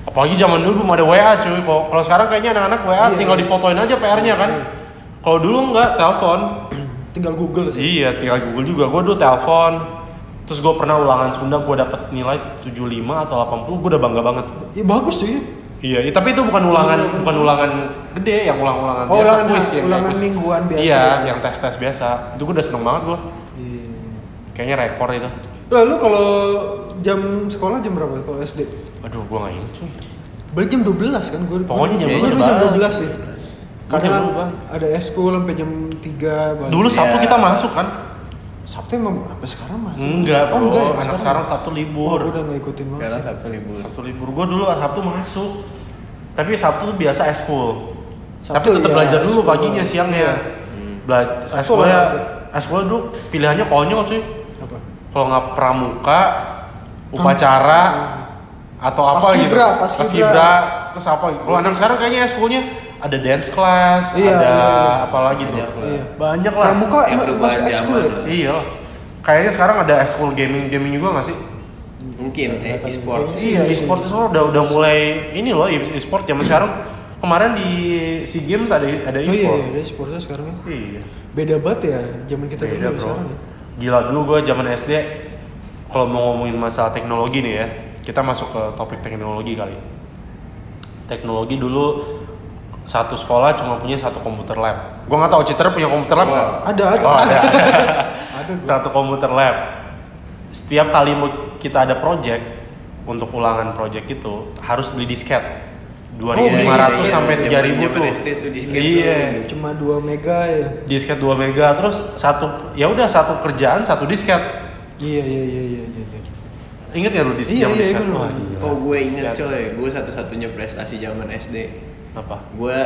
Apalagi zaman dulu belum ada WA cuy. Kalau kalau sekarang kayaknya anak-anak WA
Iya,
tinggal
iya.
difotoin aja PR-nya kan. Kalau dulu enggak telepon.
ya.
Tinggal Google sih.
Iya, tinggal Google juga. Gue dulu telepon, terus gue pernah ulangan Sunda gue dapet nilai 75 atau 80, gue udah bangga banget.
Ya bagus cuy.
Iya, i- tapi itu bukan ulangan, bukan ulangan gede, yang ulang-ulangan
Oh,
biasa kuis
ulangan ha-
ya,
yang kayak
ulangan
kuis.
mingguan biasa
Iya,
ya. Iya.
yang tes-tes biasa. Itu gue udah seneng banget gue. Kayaknya rekor itu.
Lah lu kalau jam sekolah jam berapa kalau SD?
Aduh, gue gak inget cuy.
Balik jam 12 kan gua.
Pokoknya jam
gua
12.
dulu jam 12 sih.
Gua jam
Kadang
12.
ada eskul sampai jam 3 balik.
Dulu Sabtu
Iya.
kita masuk kan?
Sabtu emang apa sekarang mas?
Enggak,
Oh,
bro.
enggak ya?
Anak sekarang Sabtu
Wah, gua
libur.
udah nggak ikutin banget
Sekarang
sih.
Sabtu libur.
Sabtu libur gue dulu Sabtu masuk. Tapi Sabtu tuh biasa eskul. Tapi
Sabtu,
tetap
iya,
belajar dulu
eskul.
paginya siangnya. Hmm. Belajar
Sabtu
eskulnya
olahraga.
eskul ya. dulu pilihannya konyol cuy.
Apa?
Kalau nggak pramuka, upacara
Hmm.
atau apa
Paskibra,
gitu.
paskibra.
Paskibra, terus apa gitu. Kalau anak sekarang kayaknya eskulnya ada dance class,
Iya,
ada
iya, iya.
apa lagi tuh.
Banyak lah.
Iya.
Banyak lah.
Pramuka
Ya,
emang
perubahan
masuk ekskul
zaman
ya?
lah.
Iya. lah. Kayaknya sekarang ada eskul gaming gaming juga nggak sih?
Mungkin eh e-sport.
Iya,
Iya,
iya,
e-sport itu udah udah mulai ini loh e- e-sport zaman sekarang. Kemarin di SEA Games ada ada
Oh iya,
e-sport.
iya, ada sportnya sekarang ya.
Iya.
Beda banget ya zaman kita dulu
Beda,
sama
bro.
sekarang ya.
Gila dulu gue zaman SD kalau mau ngomongin masalah teknologi nih ya. kita masuk ke topik teknologi kali. Teknologi dulu satu sekolah cuma punya satu komputer lab. Gua nggak tahu Citra punya komputer lab nggak?
Ada, ada,
Oh,
ada.
ada.
ada gua.
satu komputer lab. Setiap kali mau kita ada project untuk ulangan project itu harus beli disket. 2500
disket.
sampai
Zaman-
3000
zaman
tuh.
SD tuh disket
Iya.
Cuma 2 mega ya.
Disket 2 mega terus satu ya udah satu kerjaan satu disket.
Iya, iya, iya, iya, iya. iya.
Ingat ya lu disket?
Iya,
zaman
iya,
disket?
iya,
Wah,
iya.
gila.
Oh gue inget
Disket.
coy, gue satu-satunya prestasi zaman SD.
Apa?
Gue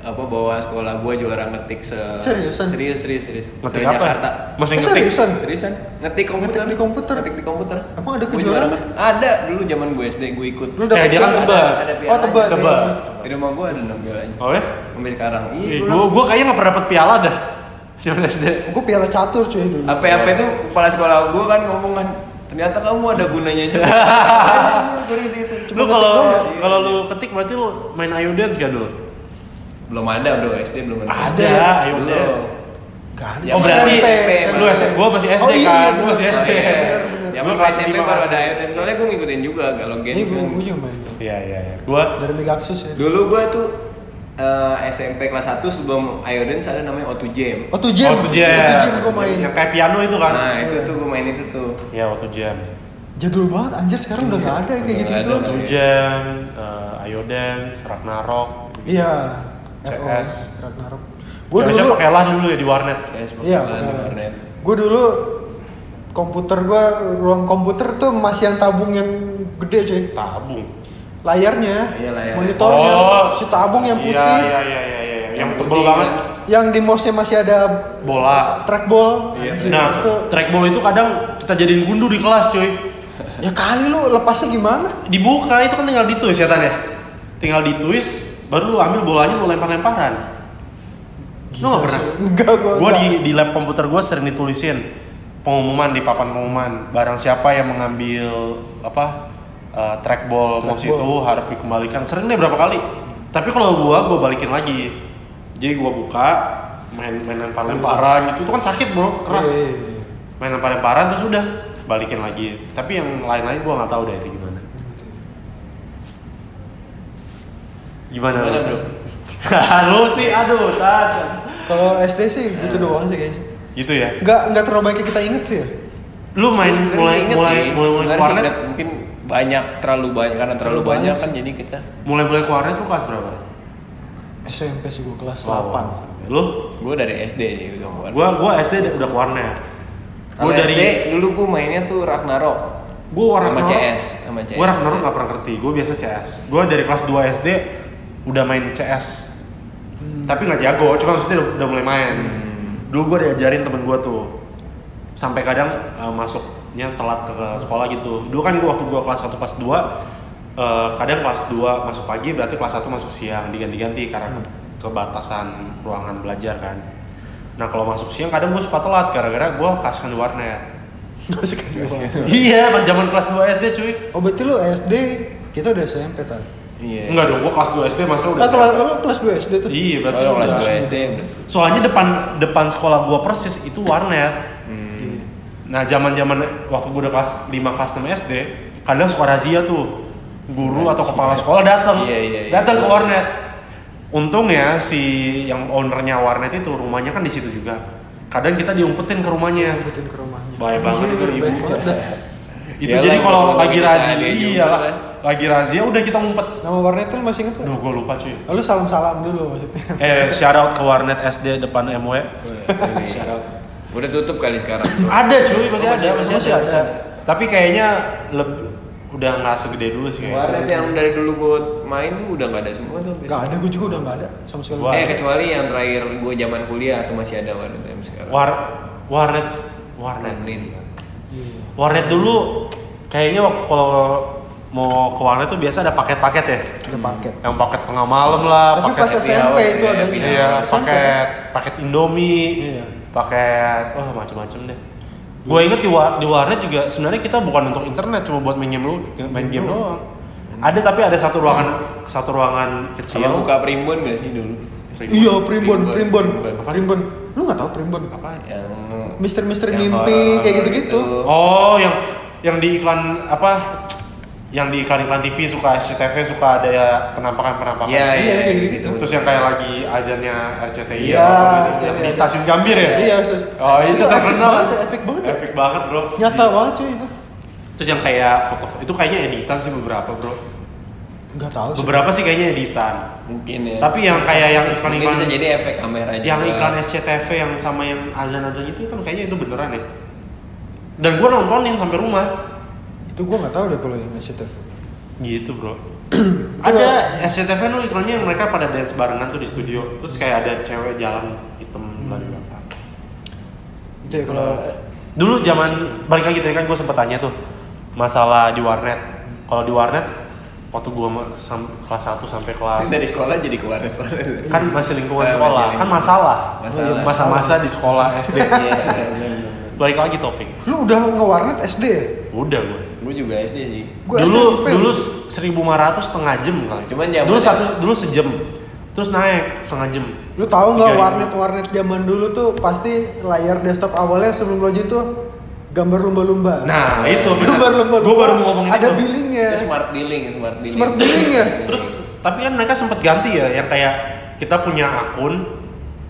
apa bawa sekolah gue juara ngetik se
Seriusan?
serius serius serius
Ngetik
Se-
apa?
Jakarta
Masih
Eh,
ngetik.
seriusan?
seriusan ngetik komputer
Ngetik di komputer?
ngetik di komputer
Emang ada
Gua
kejuaraan?
juara ngetik. ada dulu zaman gue SD gue ikut
Lu
Kayak
dapet
dia kan
piala?
tebak.
ada
Oh,
pialanya.
tebak.
Tebak.
iya,
di rumah gue ada enam pialanya
Oh ya?
sampai sekarang iya
Ih,
gue
gua gua kayaknya nggak pernah dapet piala dah. Zaman SD.
iya. Gua piala catur cuy dulu.
apa apa itu kepala sekolah gue kan ngomong kan ternyata kamu ada gunanya juga
Lu kalau kalau lu ketik berarti lu main Ayo Dance gak dulu?
belum ada bro SD belum ada
Ada ya?
Ayo
Belum.
Dance.
Kan.
Ya,
oh berarti
SMP,
lu
Bang.
SMP, gua masih SD
Oh, iya,
kan,
iya,
gua masih
Oh,
SD.
iya. Zaman
Gua
gue
kelas
SMP
lima,
baru
kelas
ada
enam.
ayo dan soalnya gue ngikutin juga galau gen
Ini
kan.
gua gua juga main.
Iya iya iya. Gua
Dari Megaxus ya.
Dulu gue tuh eh, SMP kelas 1 sebelum Iodance ada namanya O2 Jam.
Oh, tuh jam.
waktu jam.
Oh, tuh jam gua main.
Yang kayak piano itu kan.
Nah itu tuh gue main itu tuh.
Iya waktu jam.
Jadul banget anjir sekarang
Iya,
udah gak ada yang kayak
Udah
gitu
nggak
gitu.
ada.
Waktu
Iya.
jam, eh, Ayo Dance, Ragnarok.
Iya.
CS.
ROS, Ragnarok. Gua
Gua dulu
dulu
pakai lah dulu ya di warnet.
Ya, sepak
Iya,
bola,
benar.
warnet.
Gue dulu komputer gue ruang komputer tuh masih yang tabung yang gede cuy.
Tabung. Oh.
Layarnya,
Iya, layarnya.
monitornya, si tabung yang putih,
Iya iya iya iya iya. Yang tebel
putih,
banget.
kan.
yang di mouse-nya masih ada
Bola.
trackball.
Iya,
Anjir,
Nah,
itu
trackball itu kadang kita jadiin gundu di kelas, cuy.
ya kali lu lepasnya gimana?
dibuka itu kan tinggal dituis ya Tan ya tinggal dituis baru lu ambil bolanya lu lempar-lemparan lu gak pernah
Enggak gue.
gue di, di lab komputer gue sering ditulisin pengumuman di papan pengumuman barang siapa yang mengambil apa eh, trackball mouse
Trackball.
itu harus dikembalikan sering deh berapa kali tapi kalau gua gua balikin lagi jadi gua buka main main lempar lemparan gitu itu kan sakit bro
Iya,
keras
Iya,
main lempar lemparan terus udah balikin lagi tapi yang lain lain gua nggak tahu deh itu gimana gimana,
Gimana,
lu?
bro?
lu sih aduh Tan.
Kalau SD sih gitu doang sih kayaknya.
gitu ya
Enggak enggak terlalu banyak yang kita inget sih ya.
lu main
Sebenarnya
Iya, mulai
inget
mulai
sih,
mulai mulai
sebenarnya sih
keluarnya
inget, mungkin banyak terlalu banyak karena terlalu,
Terlalu
banyak
banyak
kan jadi kita
mulai mulai keluarnya tuh kelas berapa?
SMP sih gue kelas
Delapan.
8
Lu?
gue dari SD ya udah keluar.
Gua gua SD udah keluarnya.
Kalau
Gua dari
SD dulu gue mainnya tuh Ragnarok.
gua
sama
Ragnarok.
CS, sama CS.
Gua Ragnarok nggak pernah ngerti. Gua biasa CS. Gua dari kelas 2 SD udah main CS. Tapi nggak jago, cuma maksudnya udah, udah mulai main.
Hmm.
Dulu gua diajarin temen gua tuh. Sampai kadang eh, masuknya telat ke ke sekolah gitu. Dulu kan gua waktu gua kelas 1 kelas 2 eh, kadang kelas 2 masuk pagi berarti kelas 1 masuk siang diganti-ganti karena ke- kebatasan ruangan belajar kan. Nah kalau masuk siang kadang gua suka telat gara-gara gua kasihkan di warnet.
Gue sekali.
Iya, zaman kelas 2 SD cuy.
Oh berarti lu SD kita udah SMP tadi.
Iya.
Enggak dong, gua kelas 2 SD masa udah.
Nah, kelas lu kelas 2 SD tuh.
Iya, berarti
Kalau
lu
kelas
udah-
2 SD udah.
Soalnya depan depan sekolah gua persis itu warnet. Nah, zaman-zaman waktu gua udah kelas 5 kelas 6 SD, kadang suka razia tuh. Guru atau kepala sekolah datang.
Iya, iya, iya.
Datang ke warnet. Untungnya si yang ownernya warnet itu rumahnya kan di situ juga. Kadang kita diumpetin ke rumahnya.
Ngikutin ke rumahnya.
Baik banget
Anjir,
itu ibu.
Iya, baik banget dah.
Itu
Iyalah,
jadi kalau
kalau
lagi
kita
razia,
seadanya juga
iya
kan.
Lagi razia udah kita ngumpet.
Nama warnetnya lu masih inget
Duh,
gak?
gua lupa cuy.
Oh, Lu salam-salam dulu maksudnya.
Eh, shout out ke warnet SD depan MW. Shout out.
Udah tutup kali sekarang. bro.
Ada cuy, masih ada, masih,
Oh, masih
ada.
ada.
Tapi kayaknya leb- udah nggak segede dulu sih kayaknya.
Warnet yang dari dulu gue main tuh udah nggak ada semua tuh. habis.
Gak ada, gue juga udah gak ada sama sekali.
Wah.
Eh kecuali yang terakhir gue zaman kuliah tuh masih ada warnet yang sekarang.
War warnet warnet
Warnet.
Iya.
warnet dulu kayaknya waktu kalau mau ke warnet tuh biasa ada paket-paket ya.
Ada paket.
Yang paket tengah malam lah,
Tapi
Ah, paket
pas
happy
SMP
hour
itu
ya,
ada
happy
gitu.
iya,
SMP.
paket paket Indomie.
Iya.
Paket wah macam-macam deh. Gue inget di, wa- di warnet juga sebenarnya kita bukan untuk internet cuma buat main game lu,
Iya,
main game doang. Ada tapi ada satu ruangan satu ruangan kecil.
Sama buka primbon gak sih dulu?
Iya, primbon, primbon,
Primbon.
Apa?
primbon. Lu gak tau primbon?
Apa?
Yang
Mister-mister
yang
mimpi
horor-horor
kayak gitu-gitu.
Oh, yang yang di iklan apa? yang di iklan-iklan TV suka SCTV suka ada ya penampakan-penampakan.
Iya,
kayak
iya, iya,
gitu.
gitu.
Terus yang kayak lagi ajannya RCTI
Iya,
apa gitu,
RCTI.
di stasiun Gambir ya?
Iya, Ustaz.
Oh, itu
epic
terkenal.
banget, epic banget. ya.
Epic banget, Bro.
Nyata banget cuy itu.
Terus yang kayak foto itu kayaknya editan sih beberapa,
Oh,
Bro.
Enggak tahu sih.
Beberapa sih kayaknya editan.
mungkin ya.
Tapi yang kayak yang
mungkin
iklan-iklan
bisa jadi efek kamera juga.
yang iklan SCTV yang sama yang azan-azan itu kan kayaknya itu beneran ya. Dan gua nontonin sampai rumah.
Itu gua enggak tahu deh kalau yang SCTV.
Gitu, Bro. ada SCTV tuh iklannya yang mereka pada dance barengan tuh di studio. Terus kayak ada cewek jalan hitam
Hmm.
dari belakang.
Itu ya kalau
Dulu zaman balik lagi tadi kan gue sempet tanya tuh masalah di warnet. Kalau di warnet waktu gue kelas 1 sampai kelas
dari sekolah jadi keluar keluar.
kan masih lingkungan
Eh, masih
sekolah, kan
lingkungan.
masalah. Hmm,
Masalah.
Masa-masa di sekolah SD.
Iya, benar.
balik lagi topik.
lu udah ngewarnet SD ya?
Udah gue.
Gue juga SD sih.
Gua
dulu
SMP.
dulu 1500 setengah jam kali.
Cuman zaman-
dulu satu dulu sejam. Terus naik setengah jam.
Lu tahu nggak
Tiga iya. ribu.
warnet-warnet zaman dulu tuh pasti layar desktop awalnya sebelum login tuh gambar lumba-lumba.
Nah, itu.
gambar lumba-lumba.
Gue baru mau ngomong
Ada
itu.
billingnya.
Itu smart dealing, smart dealing.
Smart dealing ya?
Terus tapi kan mereka sempat ganti ya yang kayak kita punya akun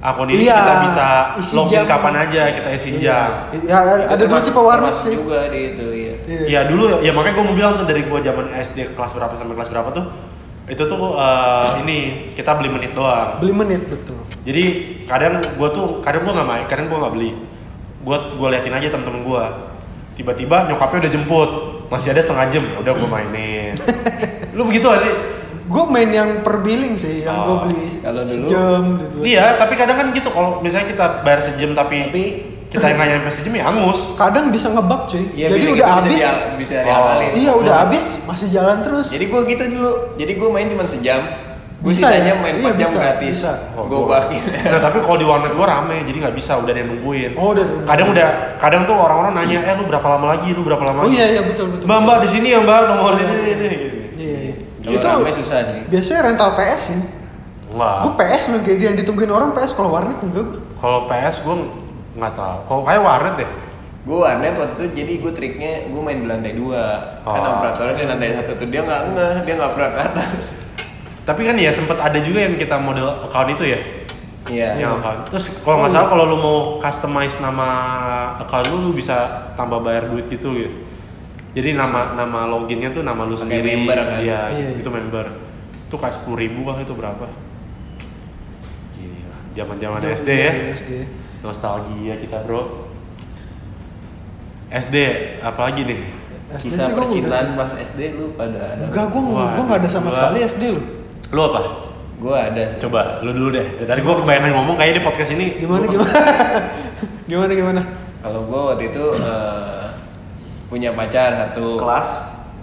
akun ini
Iya,
kita bisa
isi
login
jam.
kapan aja kita isi jam.
Ya, ada, ada dua
Termasuk-
tipe warnet
termasuk
sih.
juga di itu, iya.
Iya.
Ya dulu ya makanya gue mau bilang tuh dari gue zaman SD kelas berapa sampai kelas berapa tuh itu tuh eh, ini kita beli menit doang.
Beli menit betul.
Jadi kadang gue tuh kadang gue nggak main, kadang gue nggak beli. Gue gue liatin aja temen-temen gue. Tiba-tiba nyokapnya udah jemput, masih ada setengah jam, udah gue mainin. Lu begitu gak sih?
Gue main yang per billing sih, yang gue
Oh,
beli
kalau dulu-
sejam, beli dua.
Iya, tapi kadang kan gitu kalau misalnya kita bayar sejam tapi, kita yang nggak nyampe sejam ya hangus.
Kadang bisa ngebug cuy.
Iya,
Jadi
bilik
udah
itu
habis.
Bisa, dia- bisa diakalin.
Iya, udah habis, masih jalan terus.
Jadi gue gitu dulu. Jadi gue main cuma sejam. Gue
Bisa
sisanya
ya?
main
Iya,
4 jam
bisa,
gratis.
bisa.
Oh,
Gue
gua-
bakin.
Nah, tapi kalau di warnet gue rame, jadi nggak bisa, udah ada yang nungguin.
Oh, udah.
Kadang udah, kadang tuh orang-orang nanya, eh lu berapa lama lagi, lu berapa lama
Oh
lagi?
iya iya betul betul.
Mbak, mbak di sini ya mbak, nomor ini, ini, ini.
Iya iya.
Kalau
Itu
rame susah Ah. sih.
biasanya rental PS sih.
Wah.
Gue PS loh kayak yang ditungguin orang PS kalau warnet enggak gue.
Kalau PS gue nggak tahu. Kalau kayak warnet deh.
Gue warnet waktu itu jadi gue triknya gue main di lantai 2 Kan
Oh.
operatornya di lantai 1 tuh dia nggak ngeh, dia nggak pernah ke atas
Tapi kan ya sempet ada juga yang kita model account itu ya.
Iya
Yang account. kan. Terus kalau nggak salah kalau lu mau customize nama account lu, lu bisa tambah bayar duit gitu gitu. Jadi nama nama loginnya tuh nama lu
Pakai
sendiri.
member kan?
Iya,
Iya, iya.
itu member. Itu kayak sepuluh ribu kah itu berapa? Gila, zaman-zaman SD ya.
SD.
Nostalgia kita, Bro. SD, apalagi nih?
SD
Kisah
sih gue udah.
percintaan pas SD lu pada ada
Enggak gue
Wah,
gue nggak ada sama
gua-
sekali SD loh.
Lu apa?
Gue ada sih
Coba lu dulu deh. Dari tadi gua kebanyakan ngomong kayaknya di podcast ini
Gimana gimana? gimana gimana?
Kalau gue waktu itu eh, punya pacar satu
kelas.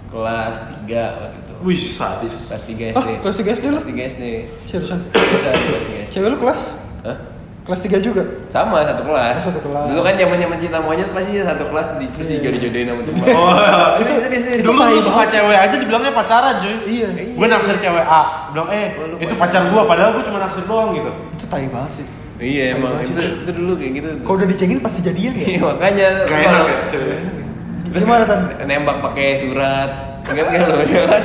Kelas 3 waktu itu
Wih, sadis.
Kelas 3
Ah,
SD
kelas 3 SD lu?
Kelas 3 SD
Seriusan.
Bisa kelas 3 SD
Cewek lu kelas
Hah?
kelas 3 juga.
Sama satu kelas.
Oh, satu kelas. Iya.
Dulu kan zaman-zaman cinta monyet pasti satu kelas di terus dijodoh-jodohin sama teman.
Oh.
Oh,
Itu-
serius Iya, serius.
itu
Dulu lu
tai
suka
banget.
cewek aja dibilangnya pacaran, cuy.
Iya.
Gue naksir cewek A, bilang eh
Wah, lu
itu
pacar.
pacar gua padahal gua cuma naksir doang gitu.
Itu tai banget sih.
Iya emang
Tai banget
itu,
sih.
itu dulu kayak gitu.
Kalau udah dicengin pasti jadian ya.
Iya makanya
Kayak
kalau-
enak ya, cewek.
terus
Gimana tan?
nembak pakai surat. Ingat kan lo ya kan?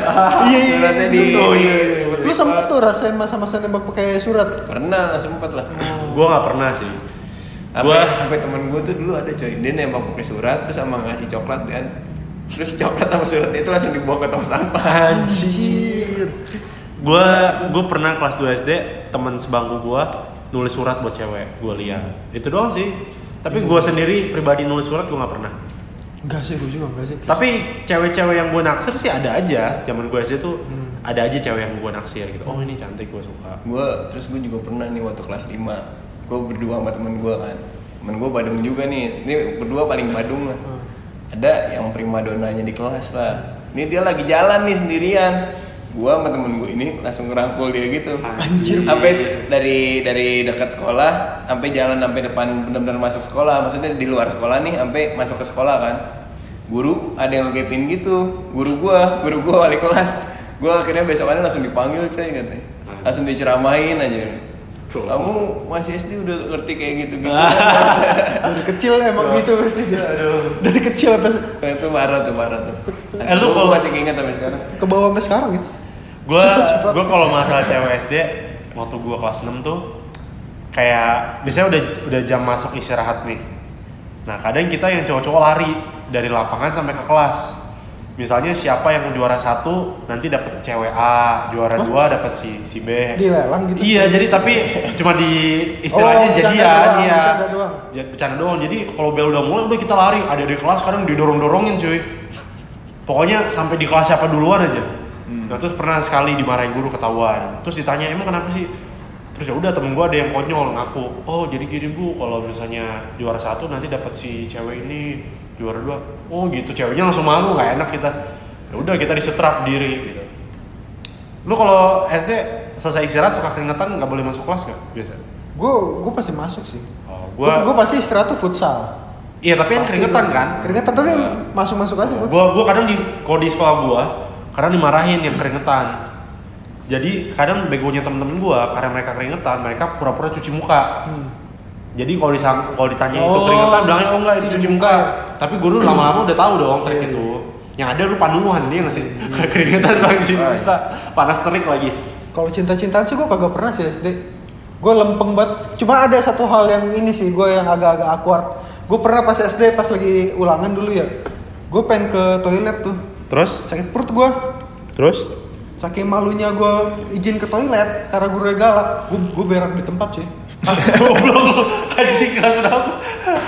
Iya iya.
Suratnya di
iya.
Oh, iya, iya.
Lu sempet tuh rasain masa-masa nembak pakai surat.
Pernah lah sempat lah.
Oh.
Gua nggak pernah sih.
Sampai
Gua
sampai teman gue tuh dulu ada coy, dia nembak pakai surat terus sama ngasih coklat kan. Terus coklat sama surat itu langsung dibuang ke tong sampah.
Ah,
Anjir.
gua gua pernah kelas 2 SD teman sebangku gua nulis surat buat cewek, gua lihat. Itu doang sih. Tapi gua sendiri pribadi nulis surat gua nggak pernah.
Enggak sih gue juga enggak sih.
Tapi cewek-cewek yang gue naksir sih ada aja. Zaman gue SD tuh ada aja cewek yang gue naksir gitu. Oh ini cantik gue suka.
gue terus gue juga pernah nih waktu kelas 5 gue berdua sama temen gue kan temen gue badung juga nih ini berdua paling badung lah ada yang prima donanya di kelas lah ini dia lagi jalan nih sendirian gue sama temen gue ini langsung ngerangkul dia gitu
Anjir.
sampai se- dari dari dekat sekolah sampai jalan sampai depan benar-benar masuk sekolah maksudnya di luar sekolah nih sampai masuk ke sekolah kan guru ada yang ngegepin gitu guru gua guru gua
Hmm.
wali kelas gua akhirnya besokannya langsung dipanggil coy katanya langsung diceramain aja Kamu masih SD udah ngerti kayak gitu-gitu.
dari kecil emang gitu pasti dia dari kecil sampai se-
Nah, itu parah tuh, parah tuh.
Eh, lu kalau-
Gua masih ingat sampai sekarang.
ke bawah sampai sekarang ya
gue
Sifat-sifat.
gue kalau masalah cewek SD waktu gue kelas 6 tuh kayak biasanya udah udah jam masuk istirahat nih nah kadang kita yang cowok-cowok lari dari lapangan sampai ke kelas misalnya siapa yang juara satu nanti dapat cewek A juara dua dapat si si B
dilelang gitu
Iya, jadi tapi cuma di istilahnya
Oh,
jadian
bercanda
ya.
doang, bercanda doang.
Ja- Bercanda doang. Jadi kalau bel udah mulai udah kita lari. Ada di kelas kadang didorong-dorongin cuy. Pokoknya sampai di kelas siapa duluan aja.
Hmm.
Nah, terus pernah sekali dimarahin guru ketahuan. Terus ditanya, "Emang kenapa sih?" Terus ya udah temen gue ada yang konyol ngaku. Oh, jadi gini Bu, kalau misalnya juara satu nanti dapat si cewek ini, juara dua. Oh, gitu ceweknya langsung malu, nggak enak kita. Ya udah kita disetrap diri gitu. Lu kalau SD selesai istirahat suka keringetan nggak boleh masuk kelas nggak biasa?
gue gue pasti masuk sih
Oh,
gue
gua,
gue pasti istirahat tuh futsal
iya tapi yang
Pasti
keringetan
gua.
kan? Iya.
keringetan tapi masuk masuk aja gue
Gua, gua kadang di kalau di sekolah gua, kadang dimarahin yang keringetan. Jadi kadang begonya temen-temen gua karena mereka keringetan, mereka pura-pura cuci muka.
Hmm.
Jadi kalau disang, kalau ditanya itu
Oh,
keringetan, bilangnya oh enggak itu
cuci
cuci
muka
muka. Iya,
ya.
Tapi guru lama-lama udah tahu dong trik itu. Yang ada lu panuan dia nggak sih? keringetan bang cuci muka, panas terik lagi.
Kalau cinta-cintaan sih gue kagak pernah sih SD. Gue lempeng banget. Cuma ada satu hal yang ini sih gue yang agak-agak awkward. Gue pernah pas SD pas lagi ulangan dulu ya. Gue pengen ke toilet tuh.
Terus,
Sakit perut gue.
terus,
Saking malunya gue izin ke toilet karena gue galak. Gue gue berak di tempat cuy.
goblok lu, anjing kelas berapa?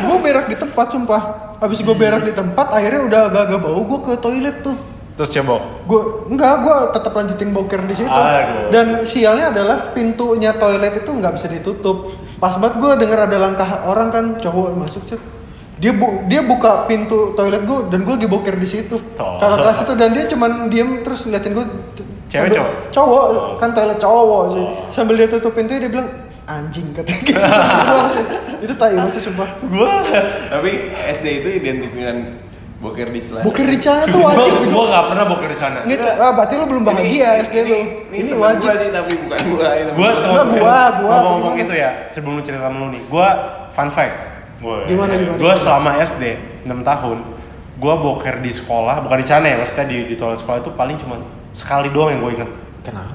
Gue berak di tempat sumpah. Habis gue berak di tempat akhirnya udah agak-agak bau gue ke toilet tuh.
Terus cebok.
Gue enggak, gue tetap lanjutin boker di situ.
Aduh.
Dan sialnya adalah pintunya toilet itu nggak bisa ditutup. Pas banget gue denger ada langkah orang kan cowok masuk sih. Dia bu- dia buka pintu toilet gue dan gue lagi boker di situ.
Tolol.
Kakak kelas itu dan dia cuman diem terus ngeliatin gue.
Oh. Cewek, cowok? Oh.
Cowok kan toilet cowok sih. Sambil dia tutup pintunya dia bilang anjing katanya gitu. Gua langsung, itu tai banget sih sumpah.
Gua
Tapi SD itu identik dengan boker di celana.
Boker di celana tuh wajib
Gua-
gitu.
Gua gak pernah boker di celana.
Gitu. Ah, berarti lu belum bahagia SD lu. Ini
temen
wajib.
gua sih tapi bukan gua. ini temen
Gua
gua.
Enggak, gua, gua,
ngomong
gimana?
itu ya, sebelum lu cerita sama lu nih. Gua fun fact. Gua,
Gimana,
Iya,
gimana?
Gua selama SD 6 tahun, gua boker di sekolah, bukan di celana ya, maksudnya di, di toilet sekolah itu paling cuma sekali doang yang gua inget.
Kenapa?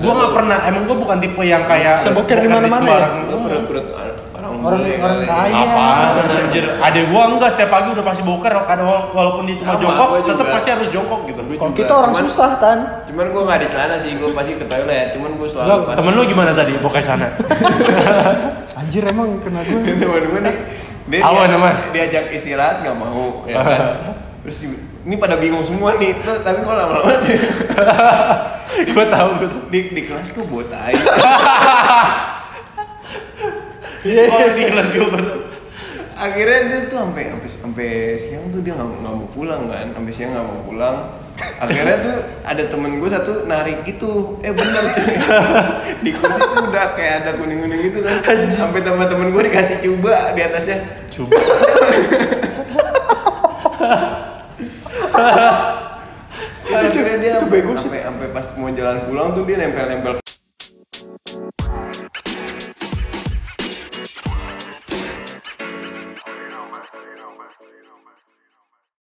Gua gak pernah, emang gua bukan tipe yang kayak
Bisa boker di mana-mana ya? Iya.
sembarang-
Lu perut-perut or- orang
Orang-
bule
orang
kali.
kaya.
Apaan anjir? Adek gua enggak setiap pagi udah pasti boker kadang wala- walaupun dia cuma
Sama,
jongkok,
gua juga.
tetap pasti harus jongkok gitu.
Gua
Kalau
juga.
kita orang
Cuman-
susah kan.
Cuman gua nggak di celana sih, gua pasti ke toilet. Cuman gua selalu
Lah,
pas.
Temen lu gimana tadi boker sana?
Anjir emang kena gue.
temen gua nih. Dia,
Awan
dia-
namanya.
diajak istirahat nggak mau, ya kan? Terus di- ini pada bingung semua nih, tuh, tapi kok lama-lama di,
gua tahu gua tahu.
di, di kelas gua buat tai. Iya.
Oh, di kelas gua pernah.
akhirnya dia tuh sampai sampai sampai siang tuh dia nggak mau- nggak mau pulang kan sampai siang nggak mau pulang akhirnya tuh ada temen gue satu narik gitu eh bener cuy di kursi tuh udah kayak ada kuning kuning gitu kan sampai teman-teman gue dikasih coba di atasnya
Coba.
akhirnya dia sampai sampai sampai pas mau jalan pulang tuh dia nempel nempel